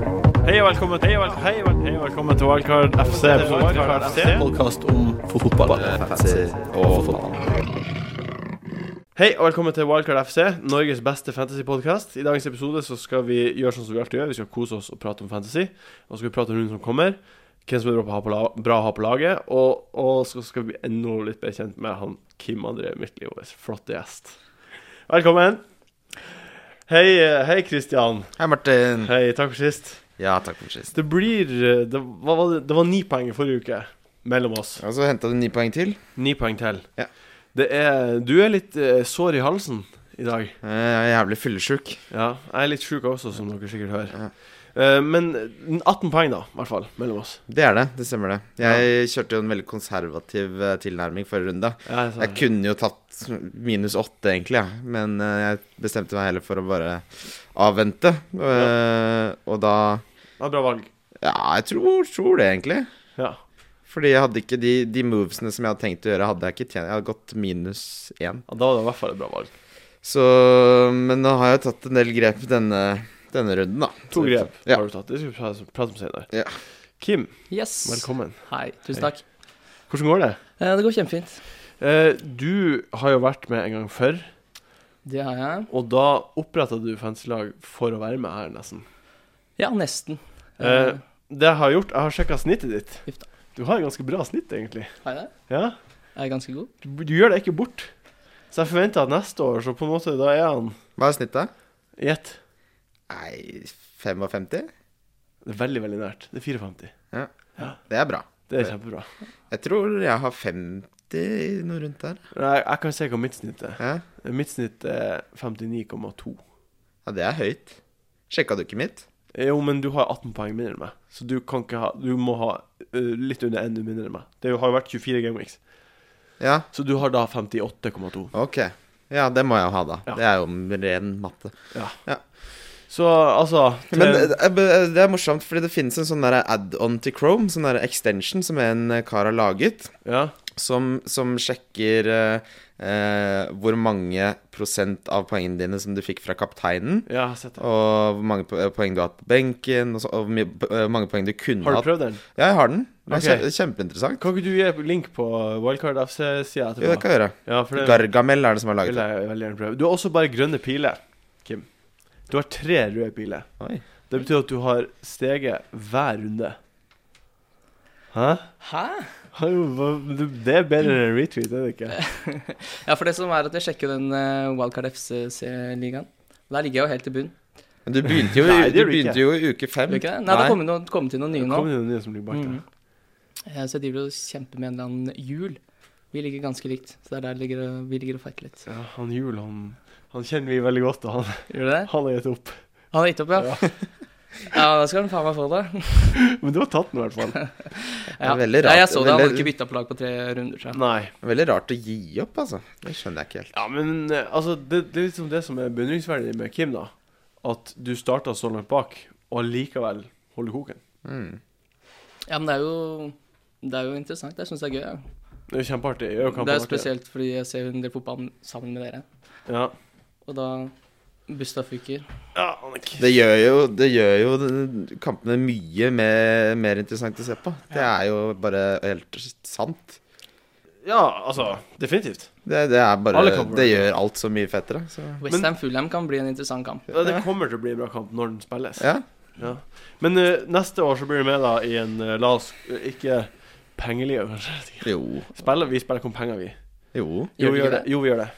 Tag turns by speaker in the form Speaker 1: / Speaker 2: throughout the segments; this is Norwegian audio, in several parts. Speaker 1: og velkommen til vel- Hei, vel- hei, og velkommen til Wildcard FC. Wildcard FC.
Speaker 2: podkast om fotball. Eh,
Speaker 1: Hei og velkommen til Wildcard FC, Norges beste fantasypodkast. I dagens episode så skal vi gjøre sånn som vi alltid gjør. Vi skal kose oss og prate om fantasy. Og så skal vi prate om runden som kommer, hvem som er bra på å ha på, la bra å ha på laget. Og, og så skal vi bli enda litt bedre kjent med han Kim André Myrtli, vår flotte gjest. Velkommen. Hei, eh, hei Kristian.
Speaker 2: Hei, Martin.
Speaker 1: Hei, takk for sist.
Speaker 2: Ja, takk for sist.
Speaker 1: Det blir eh, Det, hva var, det, det var ni poeng i forrige uke mellom oss.
Speaker 2: Og så henta du ni poeng til.
Speaker 1: Ni poeng til.
Speaker 2: Ja.
Speaker 1: Det er, du er litt eh, sår i halsen i dag.
Speaker 2: Eh, Jeg er jævlig fyllesjuk.
Speaker 1: Ja, jeg er litt sjuk også, som dere sikkert hører.
Speaker 2: Ja.
Speaker 1: Eh, men 18 poeng, da, i hvert fall, mellom oss.
Speaker 2: Det er det. Det stemmer, det. Jeg kjørte jo en veldig konservativ eh, tilnærming forrige runde.
Speaker 1: Ja, så-
Speaker 2: Jeg kunne jo tatt minus åtte, egentlig, ja. men eh, jeg bestemte meg heller for å bare avvente. Eh, Og da
Speaker 1: det var bra valg.
Speaker 2: Ja, jeg tror, tror det, egentlig.
Speaker 1: Ja.
Speaker 2: Fordi jeg hadde ikke de, de movesene som jeg hadde tenkt å gjøre, hadde jeg ikke tjent. Jeg hadde gått minus én.
Speaker 1: ja, da var det i hvert fall et bra valg.
Speaker 2: Så Men nå har jeg tatt en del grep denne, denne runden, da.
Speaker 1: To
Speaker 2: Så-
Speaker 1: grep
Speaker 2: Ja.
Speaker 1: har du tatt. Det skal vi prate- prate om senere.
Speaker 2: Ja.
Speaker 1: Kim,
Speaker 3: Yes.
Speaker 1: velkommen.
Speaker 3: Hei. Tusen
Speaker 1: Hei.
Speaker 3: takk.
Speaker 1: Hvordan går det?
Speaker 3: Eh, det går kjempefint.
Speaker 1: Eh, du har jo vært med en gang før,
Speaker 3: Det har jeg.
Speaker 1: og da oppretta du fanselag for å være med her, nesten.
Speaker 3: Ja, nesten.
Speaker 1: Eh,
Speaker 3: Eh,
Speaker 1: det jeg har gjort, jeg har sjekka snittet ditt.
Speaker 3: Uff da.
Speaker 1: Du har ganske bra snitt, egentlig.
Speaker 3: har jeg det?
Speaker 1: Ja
Speaker 3: Er jeg ganske god?
Speaker 1: du, du gjør det ikke bort. Så jeg forventer at neste år, så på en måte, da er han
Speaker 2: Hva er snittet?
Speaker 1: Gjett.
Speaker 2: Nei, 55?
Speaker 1: Det er veldig, veldig nært. Det er 54.
Speaker 2: Det er bra.
Speaker 1: Det er kjempebra.
Speaker 2: Jeg tror jeg har 50 noe rundt der.
Speaker 1: Nei, jeg kan se hva mitt snitt er.
Speaker 2: Ja,
Speaker 1: Mitt snitt er 59,2.
Speaker 2: ja det er høyt. Sjekka du ikke mitt?
Speaker 1: Jo, men du har 18 poeng mindre enn meg, så du kan ikke ha Du må ha ø, litt under enda mindre enn meg. Det har jo vært 24 gameweeks,
Speaker 2: Ja,
Speaker 1: så du har da 58,2.
Speaker 2: ok. Ja, det må jeg jo ha, da.
Speaker 1: Ja.
Speaker 2: Det er jo ren matte.
Speaker 1: Så altså til-
Speaker 2: Men eh, eh, det er morsomt, fordi det finnes en sånn der add-on til Chrome, sånn der extension, som en eh, kar har laget,
Speaker 1: Ja.
Speaker 2: som, som sjekker eh, eh, hvor mange prosent av poengene dine som du fikk fra kapteinen,
Speaker 1: ja, jeg har sett det.
Speaker 2: og hvor mange po- eh, poeng du har hatt på benken, og, så, og hvor mye, eh, mange poeng du kunne
Speaker 1: Har
Speaker 2: hatt.
Speaker 1: du prøvd den?
Speaker 2: Ja, jeg har den. Det er
Speaker 1: Ok.
Speaker 2: kje- Kjempeinteressant.
Speaker 1: Kan ikke du gi link på Wildcard FC-sida
Speaker 2: Jo, det
Speaker 1: etterpå?
Speaker 2: kan jeg gjøre.
Speaker 1: Ja, for det-
Speaker 2: Gargamel er det som har
Speaker 1: vil
Speaker 2: laget det.
Speaker 1: jeg veldig gjerne prøve. Du har også bare grønne piler, Kim. Du har tre røde piler.
Speaker 2: Oi.
Speaker 1: Det betyr at du har steget hver runde. Hæ?
Speaker 3: Hæ?
Speaker 1: Har jo- hva- du- Det er bedre enn en retweet, er det ikke?
Speaker 3: Ja, for det som er at jeg sjekker jo den eh, Wildcard FCC-ligaen. Der ligger jeg jo helt i bunn.
Speaker 2: Men du begynte jo, i-
Speaker 1: Nei, det
Speaker 2: du
Speaker 1: gjør du
Speaker 2: begynte
Speaker 1: ikke.
Speaker 2: jo i uke fem.
Speaker 3: Gjør ikke det? Nei, det kommer noe- kommer til noen nye
Speaker 1: Det
Speaker 3: nå.
Speaker 1: kommer jo nye som ligger bak der.
Speaker 3: Mhm. Eh, Så jeg driver og kjemper med en eller annen hjul. Vi ligger ganske likt, så det er der ligger, og- vi ligger og fighter litt.
Speaker 1: Ja, han Jul, han, han kjenner vi veldig godt, og han,
Speaker 3: Gjør du det?
Speaker 1: han har gitt opp.
Speaker 3: Han har gitt opp, ja? Ja, da skal han faen meg få det.
Speaker 1: Men du har tatt den i hvert fall.
Speaker 3: Ja.
Speaker 2: Det er veldig
Speaker 3: Ja,
Speaker 2: rart-
Speaker 3: jeg så det, han hadde
Speaker 2: veldig-
Speaker 3: ikke bytta på lag på tre runder, tror jeg.
Speaker 1: Nei.
Speaker 2: Veldig rart å gi opp, altså. Det skjønner jeg ikke helt.
Speaker 1: Ja, men eh, altså, det, det er liksom det som er beundringsverdig med Kim, da. At du starta så langt bak, og likevel holder koken.
Speaker 2: Mm.
Speaker 3: Ja, men det er jo, det er jo interessant. Jeg syns det er gøy. Ja.
Speaker 1: Det er jo kjempeartig. gjør jo kampen
Speaker 3: Det er
Speaker 1: artig.
Speaker 3: spesielt fordi jeg ser en del fotball sammen med dere.
Speaker 1: Ja.
Speaker 3: Og da Busta fyker.
Speaker 1: ja, Annik.
Speaker 2: Det gjør jo, det gjør jo den- kampene mye mer, mer interessant å se på. Det er jo bare helt sant.
Speaker 1: Ja, altså, definitivt.
Speaker 2: Det, det er bare
Speaker 1: Alle kamper.
Speaker 2: Det gjør alt så mye fettere. Så.
Speaker 1: Men-
Speaker 3: Westham Fulham kan bli en interessant kamp.
Speaker 1: Ja, Det kommer til å bli en bra kamp når den spilles.
Speaker 2: Ja.
Speaker 1: Ja. Men eh, neste år så blir du med da i en eh, La oss eh, ikke pengeliga, kanskje.
Speaker 2: Jo.
Speaker 1: Spiller, vi spiller ikke om penger, vi.
Speaker 2: Jo.
Speaker 1: Jo, vi
Speaker 3: Gjør vi ikke
Speaker 1: gjør det. Jo, vi gjør det.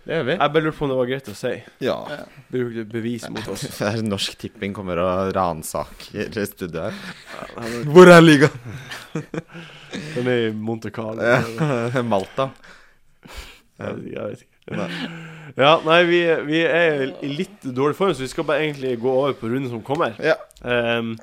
Speaker 2: Det gjør vi.
Speaker 1: Jeg bare lurte på om det var greit å si.
Speaker 2: Ja.
Speaker 1: Bruker du bevis mot oss?
Speaker 2: Det er Norsk Tipping kommer og ransaker studioet her.
Speaker 1: Den
Speaker 2: Hvor er ligaen?
Speaker 1: er- Den er i Monte Carlo.
Speaker 2: Malta.
Speaker 1: Jeg vet- jeg vet ikke. Ja, nei, vi, vi er i litt dårlig form, så vi skal bare egentlig gå over på runden som kommer.
Speaker 2: Ja.
Speaker 1: Ehm,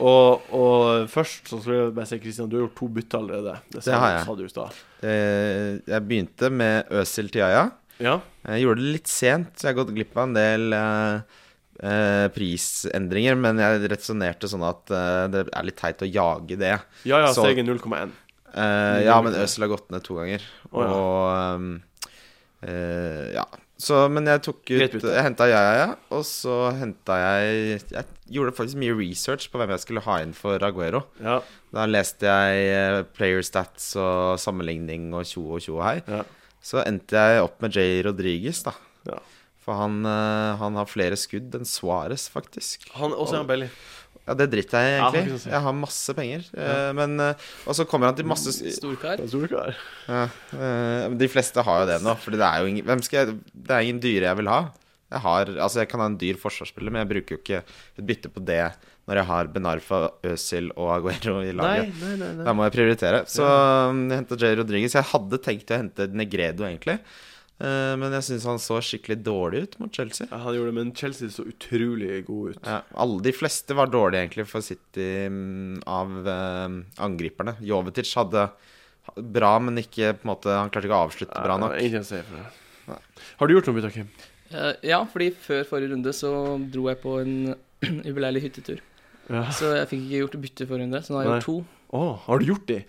Speaker 1: og, og først så skal jeg bare si, Kristian, du har gjort to bytter allerede. Det, sa,
Speaker 2: Det har
Speaker 1: du-
Speaker 2: jeg.
Speaker 1: sa du i stad.
Speaker 2: Eh, Jeg begynte med Øsil Tiaya.
Speaker 1: Ja.
Speaker 2: Jeg gjorde det litt sent, så jeg har gått glipp av en del eh, eh, prisendringer. Men jeg resonnerte sånn at eh, det er litt teit å jage det.
Speaker 1: Ja ja,
Speaker 2: Så-
Speaker 1: steget 0,1.
Speaker 2: Eh, ja, men Øsil har gått ned to ganger.
Speaker 1: Å, ja.
Speaker 2: Og ehm, eh, ja. Så, men jeg tok
Speaker 1: Greit
Speaker 2: ut
Speaker 1: bytte.
Speaker 2: Jeg henta Jaja, og så henta jeg Jeg gjorde faktisk mye research på hvem jeg skulle ha inn for Aguero.
Speaker 1: Ja,
Speaker 2: Da leste jeg eh, player stats og sammenligning og tjo og tjo og hei.
Speaker 1: Ja.
Speaker 2: Så endte jeg opp med Jay Rodriguez, da.
Speaker 1: Ja.
Speaker 2: For han, eh, han har flere skudd enn Suárez, faktisk.
Speaker 1: han også er han Belly.
Speaker 2: Ja, det driter jeg i,
Speaker 1: Ja,
Speaker 2: egentlig.
Speaker 1: faktisk.
Speaker 2: jeg har masse penger. eh, Men, eh, og så kommer han til masse s-
Speaker 3: Storkar.
Speaker 1: Jeg tror du ikke det.
Speaker 2: ja, eh, De fleste har jo det nå, for det er jo ingen, hvem skal jeg, det er ingen dyre jeg vil ha. Jeg, har, altså jeg kan ha en dyr forsvarsspiller, men jeg bruker jo ikke et bytte på det når jeg har Benarfa, Øzil og Aguero i laget.
Speaker 1: Nei, nei, nei. nei.
Speaker 2: Da må jeg prioritere. Så um, jeg henta Jay Rodriguez. Jeg hadde tenkt å hente Negredo, egentlig. Eh, men jeg syns han så skikkelig dårlig ut mot Chelsea.
Speaker 1: Ja, han gjorde det, men Chelsea så utrolig god ut.
Speaker 2: Ja, alle de fleste var dårlige, egentlig, for City mm, av eh, angriperne. Jovetic hadde bra, men ikke på en måte Han klarte ikke å avslutte bra
Speaker 1: Ja,
Speaker 2: nok.
Speaker 1: Ingenting å si for det.
Speaker 2: Nei.
Speaker 1: Har du gjort noe bytte, Kim?
Speaker 3: Eh, ja, fordi før forrige runde så dro jeg på en ubeleilig hyttetur.
Speaker 1: Ja.
Speaker 3: Så jeg fikk ikke gjort bytte forrige runde, så nå har jeg gjort to.
Speaker 1: Å, har du gjort de?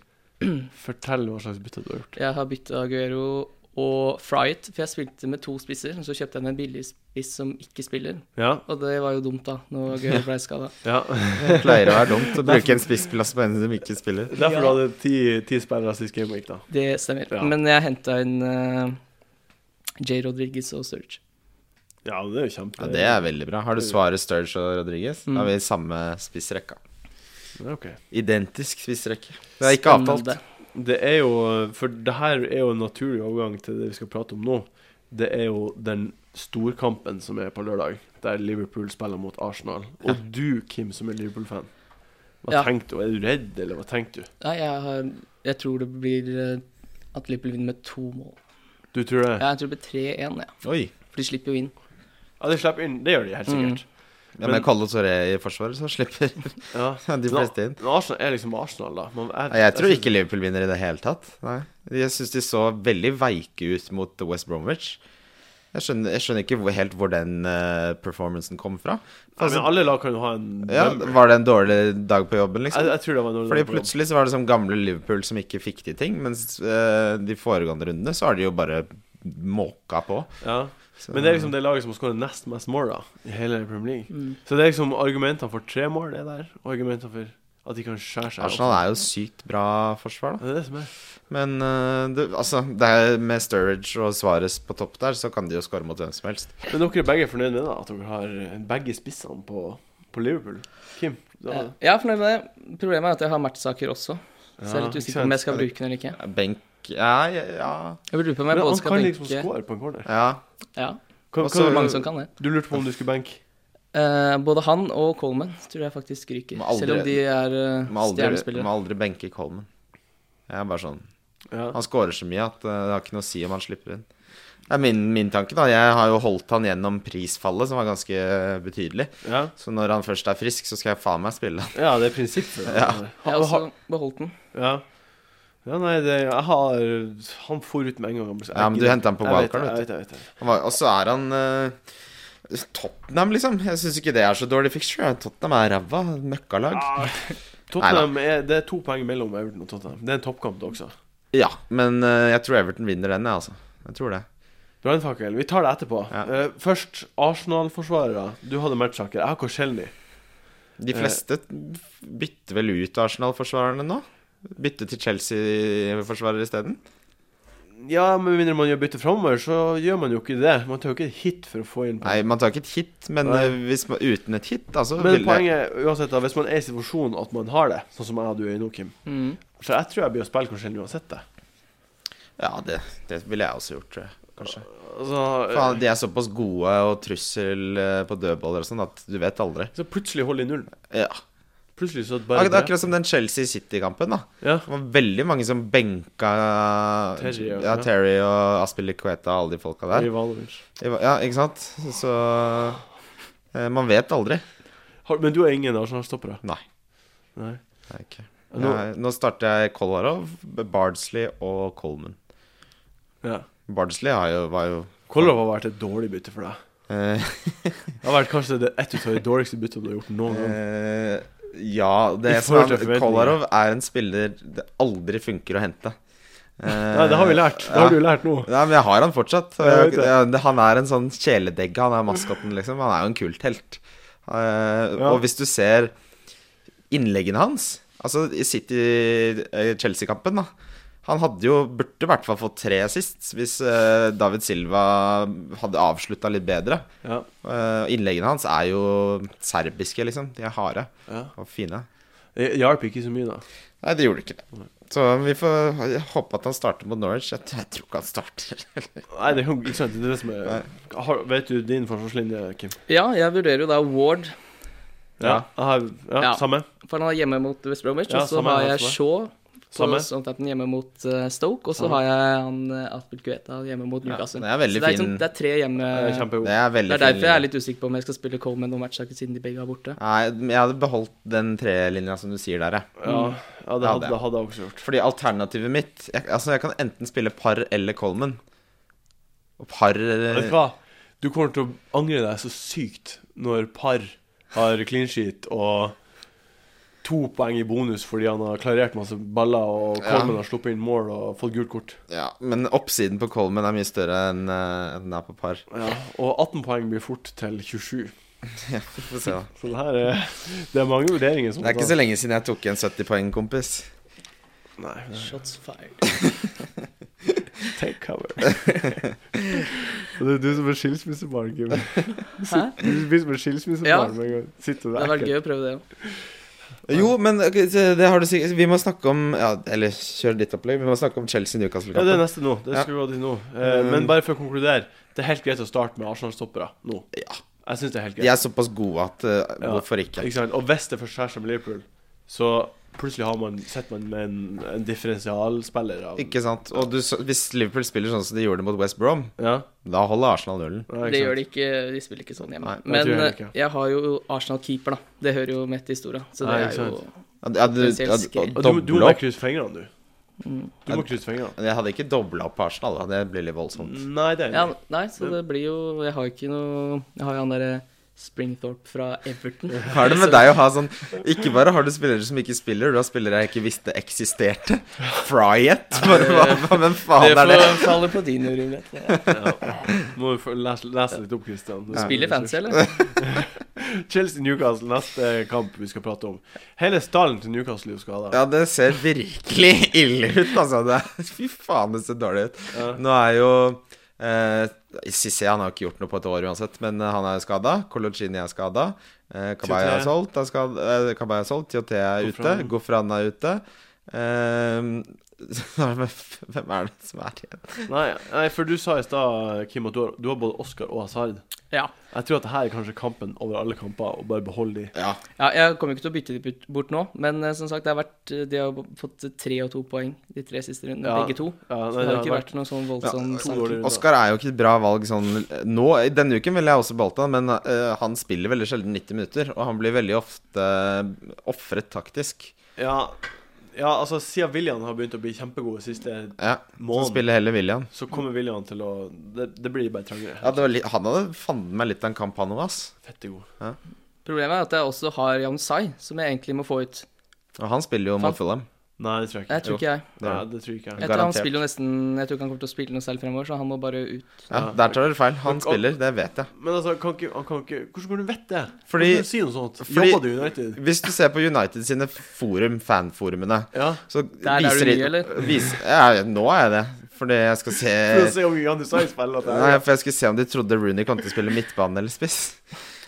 Speaker 1: Fortell hva slags bytte du har gjort.
Speaker 3: Jeg har bytta Aguero og Fryet, for jeg spilte med to spisser. Og så kjøpte jeg meg en billig spiss som ikke spiller,
Speaker 1: Ja,
Speaker 3: og det var jo dumt, da, når Aguero ble skada.
Speaker 1: ja.
Speaker 2: Det pleier å være dumt å bruke en spissplass på en som ikke spiller.
Speaker 1: Derfor
Speaker 3: Ja.
Speaker 1: du hadde ti, ti spillere sist game week, da.
Speaker 3: Det stemmer.
Speaker 1: Ja.
Speaker 3: Men jeg henta inn eh, J. Rodriguez og Sturge.
Speaker 1: Ja, det er jo kjempe...
Speaker 2: Ja, Det er veldig bra. Har du svaret Sturge og Rodriguez? Da har vi samme spissrekka.
Speaker 1: Ja, ok.
Speaker 2: Identisk spissrekke. Det er ikke avtalt.
Speaker 3: Spennende.
Speaker 1: Det er jo For det her er jo en naturlig overgang til det vi skal prate om nå. Det er jo den storkampen som er på lørdag, der Liverpool spiller mot Arsenal. Og du, Kim, som er Liverpool-fan, hva
Speaker 3: Ja.
Speaker 1: tenkte du? Er du redd, eller hva tenkte du?
Speaker 3: Nei, jeg, har, jeg tror det blir eh, at Liverpool vinner med to mål.
Speaker 1: Du tror det?
Speaker 3: Ja, jeg tror det blir 3-1, ja.
Speaker 2: Oi.
Speaker 3: for de slipper jo inn.
Speaker 1: Ja, de slipper inn. Det gjør de helt sikkert.
Speaker 2: Ja, men
Speaker 1: Men-
Speaker 2: Colle Toré i forsvaret, så slipper
Speaker 3: Mm.
Speaker 1: Ja.
Speaker 2: de
Speaker 1: Men-
Speaker 2: fleste inn.
Speaker 1: Men Arsenal er liksom Arsenal, da. Man,
Speaker 2: Nei, Jeg tror ikke Liverpool vinner i det hele tatt. Nei. Jeg syns de så veldig veike ut mot West Bromwich. Jeg skjønner, jeg skjønner ikke hvor, helt hvor den eh, performancen kom fra.
Speaker 1: Nei,
Speaker 2: Altså,
Speaker 1: men alle lag kan jo ha en
Speaker 2: Ja,
Speaker 1: number.
Speaker 2: var det en dårlig dag på jobben,
Speaker 1: jeg,
Speaker 2: liksom?
Speaker 1: jeg tror det var noe
Speaker 2: Fordi plutselig så var det sånn gamle Liverpool som ikke fikk til ting, mens eh, de foregående rundene så har de jo bare måka på.
Speaker 1: ja.
Speaker 2: Så-
Speaker 1: Men det er liksom det laget som har skåret nest mest mål da i hele Premier League.
Speaker 3: Mm.
Speaker 1: Så det er liksom argumentene for tre mål, det der. Og argumentene for at de kan skjære seg.
Speaker 2: Arsenal er jo sykt bra forsvar, da.
Speaker 1: opp. Det er det som er.
Speaker 2: Men eh, det, altså, det er med Sturridge og Svares på topp der, så kan de jo skåre mot hvem som helst.
Speaker 1: Men dere er begge fornøyd med det, da? At dere har eh, begge spissene på, på Liverpool? Kim? Du har
Speaker 3: Eh,
Speaker 1: det.
Speaker 3: Jeg er fornøyd med det. Problemet er at jeg har matchsaker også. Så jeg
Speaker 1: Ja,
Speaker 3: er litt
Speaker 1: ikke
Speaker 3: usikker på om jeg
Speaker 1: sant?
Speaker 3: skal bruke den eller ikke.
Speaker 2: Benk Ja, ja,
Speaker 3: Jeg lurer på om
Speaker 1: Men
Speaker 3: jeg både
Speaker 1: han
Speaker 3: skal
Speaker 1: kan liksom
Speaker 3: benke
Speaker 1: score på en corner.
Speaker 2: ja.
Speaker 3: Ja,
Speaker 1: Kan,
Speaker 2: Også-
Speaker 3: det er
Speaker 1: kan,
Speaker 3: mange som kan det.
Speaker 1: du lurte på om du skulle benke?
Speaker 3: Eh, både han og Coleman tror jeg faktisk ryker.
Speaker 2: Må aldri-
Speaker 3: selv om de er eh,
Speaker 2: Må aldri,
Speaker 3: stjernespillere.
Speaker 2: må aldri benke Coleman. Jeg er bare sånn
Speaker 1: Ja.
Speaker 2: Han skårer så mye at eh, det har ikke noe å si om han slipper inn. Det er min, min tanke, da. Jeg har jo holdt han gjennom prisfallet, som var ganske eh, betydelig.
Speaker 1: ja.
Speaker 2: Så når han først er frisk, så skal jeg faen meg spille han.
Speaker 1: ja, det er prinsippet.
Speaker 2: Ja.
Speaker 3: Jeg har også beholdt den.
Speaker 1: Ja. ja, nei, det, jeg har Han for ut med en gang. han ble-
Speaker 2: Ja, men du hentet han på
Speaker 1: Jeg vet
Speaker 2: wildcard,
Speaker 1: det,
Speaker 2: vet
Speaker 1: Jeg vet, det, jeg vet,
Speaker 2: Han var- Og så er han eh, Tottenham, liksom. Jeg syns ikke det er så dårlig fixture. Tottenham er ræva. Møkkalag.
Speaker 1: det. Tottenham er, det er to poeng mellom Everton og Tottenham. Det er en toppkamp det også.
Speaker 2: Ja, men eh, jeg tror Everton vinner den, jeg, altså. Jeg tror det.
Speaker 1: Brannfakkel. Vi tar det etterpå.
Speaker 2: Ja.
Speaker 1: Eh, først Arsenal-forsvarere. Du hadde matchsaker. Jeg har Korselny.
Speaker 2: De
Speaker 1: Eh.
Speaker 2: fleste bytter vel ut Arsenal-forsvarerne nå? Bytte til Chelsea-forsvarer isteden?
Speaker 1: Ja, med mindre man gjør bytte framover, så gjør man jo ikke det. Man tar jo ikke et hit for å få inn
Speaker 2: Nei, man tar ikke et hit, men
Speaker 1: Nei.
Speaker 2: eh, hvis man, uten et hit, altså
Speaker 1: Men
Speaker 2: ville-
Speaker 1: poenget er uansett da, hvis man er i situasjonen at man har det, sånn som jeg og du er i nå, Kim
Speaker 3: Mm.
Speaker 1: Så jeg tror jeg blir å spille Korselny uansett, det.
Speaker 2: Ja, det, det ville jeg også gjort, tror jeg. Kanskje.
Speaker 1: Altså,
Speaker 2: Faen, de er såpass gode og trussel eh, på dødballer og sånn at du vet aldri.
Speaker 1: så plutselig holder de nullen.
Speaker 2: Ja.
Speaker 1: Plutselig så
Speaker 2: Ak
Speaker 1: bare
Speaker 2: det er akkurat som den Chelsea-City-kampen, da.
Speaker 1: Ja.
Speaker 2: Det var veldig mange som benka
Speaker 1: Terry og-
Speaker 2: ja, Terry og Aspilly Queta og alle de folka der.
Speaker 1: Ivanovic.
Speaker 2: Ja, ikke sant? Så eh, Man vet aldri.
Speaker 1: Har, men du er ingen Arsenal-stoppere?
Speaker 2: Nei.
Speaker 1: Nei.
Speaker 2: Det er ikke.
Speaker 1: Ja, nå-
Speaker 2: Jeg, nå starter jeg Kolarov, Bardsley og Coleman.
Speaker 1: Ja.
Speaker 2: Bardsley har jo, var jo
Speaker 1: Kolarov har vært et dårlig bytte for deg.
Speaker 2: eh,
Speaker 1: Det har vært kanskje det ett av de dårligste byttene du har gjort noen gang.
Speaker 2: eh, Ja, det
Speaker 1: I
Speaker 2: som
Speaker 1: forhold til forventninger.
Speaker 2: er Kolarov er en spiller det aldri funker å hente.
Speaker 1: Nei, det har vi lært. Det har du lært nå.
Speaker 2: Nei, men jeg har han fortsatt.
Speaker 1: Ja, jeg vet det.
Speaker 2: Jeg- Han er en sånn kjæledegge, han er maskotten, liksom. Han er jo en kulthelt. Eh,
Speaker 1: Ja.
Speaker 2: Og hvis du ser innleggene hans Altså i City eh, Chelsea-kampen, da. Han hadde jo burde i hvert fall fått tre sist, hvis eh, David Silva hadde avslutta litt bedre.
Speaker 1: Ja.
Speaker 2: Eh, innleggene hans er jo serbiske, liksom. De er harde
Speaker 1: ja.
Speaker 2: og fine.
Speaker 1: Det hjalp ikke så mye, da.
Speaker 2: Nei, det gjorde ikke det. Så vi får håpe at han starter mot Norwich. Jeg, jeg tror ikke han starter.
Speaker 1: Nei, det er jo ikke sant. Det er det som er har, Vet du din forsvarslinje, Kim?
Speaker 3: Ja, jeg vurderer jo da Ward,
Speaker 1: Ja. Jeg har, ja,
Speaker 3: Ja.
Speaker 1: Samme.
Speaker 3: for han er hjemme mot West Bromwich.
Speaker 1: Ja,
Speaker 3: og så
Speaker 1: samme
Speaker 3: har
Speaker 1: her
Speaker 3: jeg
Speaker 1: for meg.
Speaker 3: Shaw på
Speaker 1: Samme.
Speaker 3: Southampton hjemme mot eh, Stoke. Og så
Speaker 1: Ja.
Speaker 3: har jeg han Aspelkueta hjemme mot Newcastle.
Speaker 2: det er veldig
Speaker 3: så det er,
Speaker 2: fin-
Speaker 3: sånn, det er tre hjemme
Speaker 1: Det er
Speaker 2: Det
Speaker 1: Eh, Kjempegod.
Speaker 2: er veldig
Speaker 3: Det er derfor jeg er
Speaker 2: litt
Speaker 3: litt usikker på om jeg skal spille Coleman og matchsaker siden de begge er borte.
Speaker 2: Nei, men jeg hadde beholdt den trelinja som du sier der, jeg.
Speaker 1: Ja, ja det,
Speaker 2: Ja,
Speaker 1: hadde,
Speaker 2: det.
Speaker 1: det hadde jeg også gjort.
Speaker 2: Fordi alternativet mitt jeg, Altså, jeg kan enten spille par eller Coleman. Og par
Speaker 1: Vet du hva? Du kommer til å angre deg så sykt når par har clean sheet og to poeng i bonus fordi han har klarert masse baller, og
Speaker 2: Ja.
Speaker 1: Coleman har sluppet inn mål og fått gult kort.
Speaker 2: Ja, men oppsiden på Coleman er mye større enn eh, enn den er på par.
Speaker 1: Ja, og 18 poeng blir fort til 27.
Speaker 2: Vi får se, da.
Speaker 1: Så det her er, det er mange vurderinger som
Speaker 2: Det er ikke så lenge siden jeg tok en 70 poeng, kompis.
Speaker 1: Nei, nei,
Speaker 3: Shots fired.
Speaker 1: take cover. Så det er du som er skilsmissebarn, Kim.
Speaker 3: Hæ?
Speaker 1: Du blir som en
Speaker 3: Ja.
Speaker 1: skilsmissebarn med en gang. Sitter
Speaker 3: Det
Speaker 1: der
Speaker 3: hadde vært gøy å prøve det òg.
Speaker 2: Jo, men ok, så det har du sikkert Vi må snakke om ja, Eller kjør ditt opplegg. Vi må snakke om
Speaker 1: Ja, det er
Speaker 2: Chelsea-Newcastle-kampen.
Speaker 1: neste nå. Det skal vi gå til nå. Eh,
Speaker 2: Mm.
Speaker 1: men bare for å konkludere, det er helt greit å starte med Arsenal-stoppere nå.
Speaker 2: Ja.
Speaker 1: Jeg syns det er helt greit.
Speaker 2: De er såpass gode at eh,
Speaker 1: Ja.
Speaker 2: hvorfor ikke?
Speaker 1: Ikke sant? Og hvis det først skjer seg med Liverpool, så plutselig har man, sitter man med en, en differensialspiller av
Speaker 2: Ikke sant? Og du, så- hvis Liverpool spiller sånn som de gjorde mot West Brom,
Speaker 1: Ja,
Speaker 2: da holder Arsenal nullen.
Speaker 1: ja,
Speaker 3: Det gjør de ikke. De spiller ikke sånn hjemme.
Speaker 2: Nei,
Speaker 1: jeg
Speaker 3: Men
Speaker 1: tror heller
Speaker 3: eh,
Speaker 1: ikke.
Speaker 3: jeg har jo Arsenal-keeper, da. Det hører jo med til historia. Så det
Speaker 1: Nei,
Speaker 3: er
Speaker 1: ikke
Speaker 3: jo
Speaker 2: Ja, det- ja, du-
Speaker 3: Det er
Speaker 2: ja,
Speaker 3: scary.
Speaker 2: og
Speaker 1: Og du, du må
Speaker 2: doble
Speaker 1: bare
Speaker 2: opp.
Speaker 1: krysse fingrene, du.
Speaker 3: Mm.
Speaker 1: Du må krysse fingrene.
Speaker 2: Jeg hadde ikke dobla opp på Arsenal, da. Det blir litt
Speaker 3: Mm.
Speaker 2: voldsomt.
Speaker 1: Nei, det er
Speaker 3: Ja,
Speaker 1: jeg enig i.
Speaker 3: nei, så det blir jo Jeg har jo ikke noe Jeg har jo han derre Springthorpe fra Everton.
Speaker 2: Hva er det med deg å ha sånn Ikke bare har du spillere som ikke spiller, du har spillere jeg ikke visste eksisterte. Fryet? Bare, hva, hva, men
Speaker 3: Det
Speaker 2: faen er det?
Speaker 3: får- faller på din urimelighet. Ja.
Speaker 1: Ja. Må jo få- lese, lese litt opp, Christian.
Speaker 2: Ja.
Speaker 3: Spiller fancy, eller?
Speaker 1: Chelsea Newcastle, neste kamp vi skal prate om. Hele stallen til Newcastle er jo skada.
Speaker 2: Ja, det ser virkelig ille ut, altså. Det er, fy faen, det ser dårlig ut.
Speaker 1: Ja.
Speaker 2: Nå er jo eh, Cissé han har ikke gjort noe på et år uansett, men eh, han er jo skada. Kolocini er skada. Eh, Kabay
Speaker 1: Tioté.
Speaker 2: er solgt. Er skada, eh, Kabay er solgt. Tioté er ute.
Speaker 1: Gofran.
Speaker 2: Gofran er ute. Eh, hvem er det som er igjen?
Speaker 1: Nei, nei, for du sa i stad, Kim, at du har, du har både Oscar og Hazard.
Speaker 3: Ja.
Speaker 1: Jeg tror at det her er kanskje kampen over alle kamper, og bare beholde de.
Speaker 2: Ja,
Speaker 3: ja. Jeg kommer jo ikke til å bytte de bort- bort nå, men eh, som sagt, det har vært eh, De har jo fått tre og to poeng de tre siste rundene,
Speaker 1: Ja.
Speaker 3: begge to.
Speaker 1: Ja,
Speaker 3: Så
Speaker 1: nei,
Speaker 3: det har ikke vært noe sånn voldsom
Speaker 1: to
Speaker 3: sak.
Speaker 1: dårlige runder.
Speaker 2: Oskar er jo ikke et bra valg sånn eh, nå. I Denne uken ville jeg også beholdt han, men eh, han spiller veldig sjelden 90 minutter. Og han blir veldig ofte ofret taktisk.
Speaker 1: Ja, ja altså siden William har begynt å bli kjempegod siste
Speaker 2: Ja, så
Speaker 1: måned,
Speaker 2: spiller heller William.
Speaker 1: så kommer William til å Det, det blir bare trangere.
Speaker 2: Ja, det var litt, han hadde fanden meg litt av en kamp, han òg, ass.
Speaker 1: Fette god.
Speaker 3: Problemet er at jeg også har Jan Sai, som jeg egentlig må få ut.
Speaker 2: Og han spiller jo
Speaker 3: Fan.
Speaker 2: mot Fulham.
Speaker 1: Nei, det tror jeg ikke.
Speaker 3: Jeg tror
Speaker 2: Jo.
Speaker 3: ikke jeg.
Speaker 2: Det er
Speaker 1: Nei, det tror jeg ikke.
Speaker 3: Jeg tror, han
Speaker 2: Garantert.
Speaker 3: spiller jo nesten, jeg tror ikke han kommer til å spille noe selv fremover, så han må bare ut.
Speaker 2: Ja,
Speaker 1: Ja.
Speaker 2: Der tar dere feil.
Speaker 1: Men-
Speaker 2: Han spiller, det vet jeg.
Speaker 1: Men altså, kan ikke, han kan ikke Hvordan kan du vite det? Hvordan
Speaker 2: Fordi-
Speaker 1: kan du si noe sånt?
Speaker 2: fordi-
Speaker 1: Jobber du i United?
Speaker 2: Hvis du ser på United sine forum, fanforumene,
Speaker 1: Ja.
Speaker 2: så
Speaker 3: er du
Speaker 2: viser de-
Speaker 3: ny, eller?
Speaker 2: viser- ja, nå er jeg det. Fordi jeg skal se
Speaker 1: For å se om Jan Usai spiller at det
Speaker 2: Nei,
Speaker 1: er
Speaker 2: for jeg skulle se om de trodde Rooney kom til å spille midtbane eller spiss.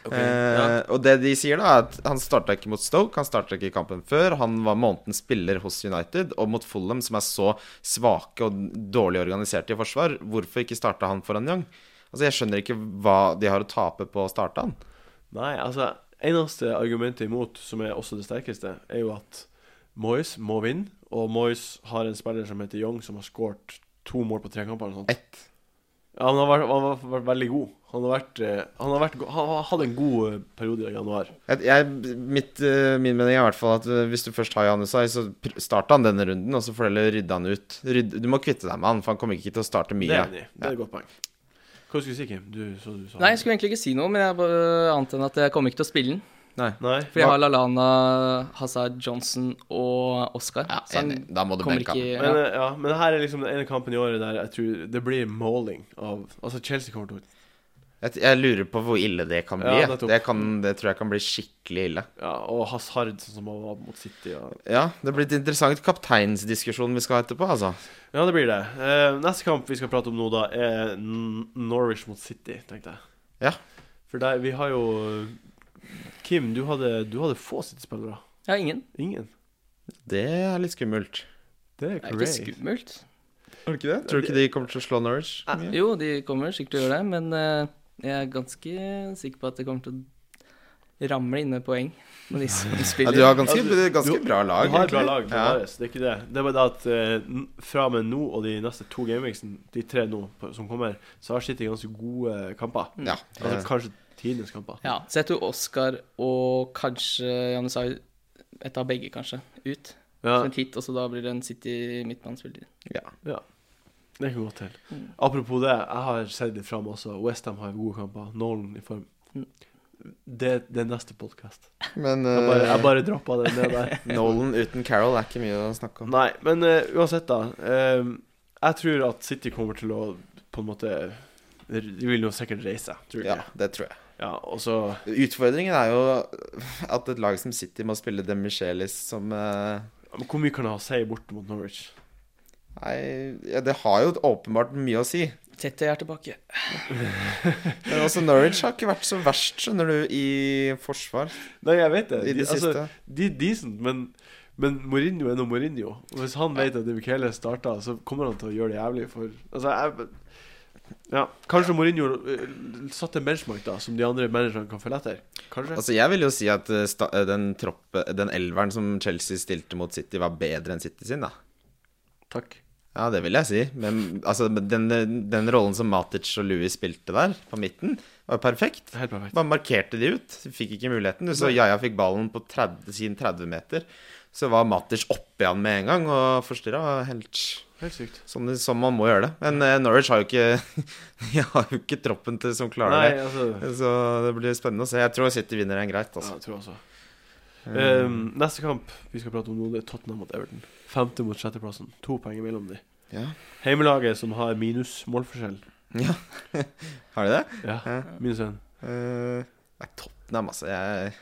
Speaker 1: Ok,
Speaker 2: eh, og det de sier, da, er at han starta ikke mot Stoke, han starta ikke i kampen før. Han var månedens spiller hos United, og mot Fulham, som er så svake og dårlig organiserte i forsvar, hvorfor ikke starta han foran Young? Altså, Jeg skjønner ikke hva de har å tape på å starte han.
Speaker 1: Nei, altså Eneste argumentet imot, som er også det sterkeste, er jo at Moyes må vinne, og Moyes har en spiller som heter Young, som har skåret to mål på tre kamper. eller noe sånt.
Speaker 2: Ett.
Speaker 1: Ja, han har vært, han har vært veldig god. Han har vært, eh, han har vært go- Han har hatt en god eh, periode i januar.
Speaker 2: Jeg, jeg, mitt, eh, min mening er i hvert fall at eh, hvis du først har Jan Usai, så pr- start han denne runden, og så får du heller rydde han ut. Rydd, du må kvitte deg med han, for han kommer ikke til å
Speaker 1: Det
Speaker 2: starte
Speaker 1: er
Speaker 2: mye.
Speaker 1: jeg enig i. Det er et godt poeng. Hva skulle du si, Kim? Du, så du sa
Speaker 3: Nei, jeg skulle egentlig ikke si noe, men jeg bare- annet enn at jeg kommer ikke til å spille den.
Speaker 2: Nei.
Speaker 1: Nei.
Speaker 3: For jeg har Lalana, Hazard Johnson og Oscar.
Speaker 2: Ja,
Speaker 3: så han
Speaker 2: enig. Da må du
Speaker 3: kommer
Speaker 2: benke
Speaker 3: ikke
Speaker 2: han.
Speaker 1: Men,
Speaker 3: ja.
Speaker 1: eh, ja, men det her er liksom den ene kampen i året der jeg tror det blir måling av Altså, Chelsea kommer til å
Speaker 2: Jeg, jeg lurer på hvor ille det kan bli.
Speaker 1: Ja,
Speaker 2: jeg.
Speaker 1: nettopp.
Speaker 2: det, kan, det tror jeg kan bli skikkelig ille.
Speaker 1: ja, Og Hazard, sånn som han var mot City. Og...
Speaker 2: Ja, det blir et interessant kapteinsdiskusjon vi skal ha etterpå, altså.
Speaker 1: Ja, det blir det. Eh, neste kamp vi skal prate om nå, da, er N- Norwich mot City, tenkte jeg.
Speaker 2: Ja.
Speaker 1: For der, vi har jo Kim, du hadde, du hadde få City-spillere.
Speaker 3: ja, ingen.
Speaker 1: Ingen.
Speaker 2: Det er litt skummelt.
Speaker 1: Det er
Speaker 3: Det er ikke
Speaker 1: crazy.
Speaker 3: skummelt.
Speaker 2: Tror du ikke de kommer til å slå Norwich? mye?
Speaker 3: Ah, Jo, de kommer sikkert til å gjøre det, men eh, jeg er ganske sikker på at det kommer til å ramle inn med poeng når de som
Speaker 2: Ja,
Speaker 3: spiller.
Speaker 2: du har ganske,
Speaker 1: Altså,
Speaker 2: ganske
Speaker 1: du-
Speaker 2: bra lag.
Speaker 1: Du har et bra
Speaker 2: egentlig.
Speaker 1: lag,
Speaker 2: Ja.
Speaker 1: Marius. Det er ikke det. Det er bare det at eh, n- fra og med nå og de neste to gameweeksene, de tre nå på- som kommer, så har City ganske gode kamper.
Speaker 2: Ja.
Speaker 1: Altså kanskje tidenes kamper.
Speaker 3: Ja, så jeg tror Oscar og kanskje Janusai et av begge, kanskje, ut.
Speaker 1: Ja,
Speaker 3: Som et hit, og så da blir det en City midtbanespiller.
Speaker 2: ja.
Speaker 1: det kan godt til.
Speaker 2: Mm.
Speaker 1: Apropos det, jeg har sett litt fram også. Westham har gode kamper. Nolan i form.
Speaker 2: Mm.
Speaker 1: Det, det er neste podkast.
Speaker 2: Men
Speaker 1: Jeg bare,
Speaker 2: eh,
Speaker 1: jeg bare droppa det ned der.
Speaker 2: Nolan uten Carol er ikke mye å snakke om.
Speaker 1: Nei, men eh, uansett, da. eh, jeg tror at City kommer til å på en måte De vil jo sikkert reise, tror jeg.
Speaker 2: Ja, det tror jeg.
Speaker 1: Ja, og så
Speaker 2: Utfordringen er jo at et lag som City må spille Demichelis som eh,
Speaker 1: Men Hvor mye kan det ha å si borte mot Norwich?
Speaker 2: Nei, ja, det har jo åpenbart mye å si.
Speaker 3: Tette er tilbake.
Speaker 2: Men også Norwich har ikke vært så verst, skjønner du, i forsvar
Speaker 1: Nei, jeg vet det.
Speaker 2: i det
Speaker 1: De- altså,
Speaker 2: siste.
Speaker 1: de er decent, men, men Mourinho er nå Mourinho. Og hvis han vet at Michele starter, så kommer han til å gjøre det jævlig for Altså, jeg ja, Kanskje Mourinho eh, satte en benchmark da som de andre managerne kan følge etter. Kanskje.
Speaker 2: Altså, jeg vil jo si at eh, sta den, troppe, den elveren som Chelsea stilte mot City, var bedre enn City sin, da.
Speaker 1: Takk.
Speaker 2: Ja, det vil jeg si. Men altså, den, den rollen som Matic og Louis spilte der, på midten, var perfekt.
Speaker 1: Helt perfekt.
Speaker 2: Bare markerte de ut. Fikk ikke muligheten. Du så Jaja fikk ballen på 30, sin 30-meter. Så var Matic oppi han med en gang og forstyrra. Helt
Speaker 1: Helt sykt.
Speaker 2: sånn som man må gjøre det. Men eh, Norwich har jo ikke De har jo ikke troppen til som klarer
Speaker 1: Nei, altså
Speaker 2: det. Så det blir spennende å se. Jeg tror City vinner den greit,
Speaker 1: Ja,
Speaker 2: altså. Eh.
Speaker 1: jeg tror også. Ehm, neste kamp vi skal prate om nå, det er Tottenham mot Everton. Femte mot sjetteplassen. To poeng mellom de.
Speaker 2: Eh, Ja.
Speaker 1: Heimelaget som har minus målforskjell.
Speaker 2: Har de det?
Speaker 1: Ja,
Speaker 2: Ja.
Speaker 1: minus én.
Speaker 2: Eh, Nei, Tottenham, altså. Jeg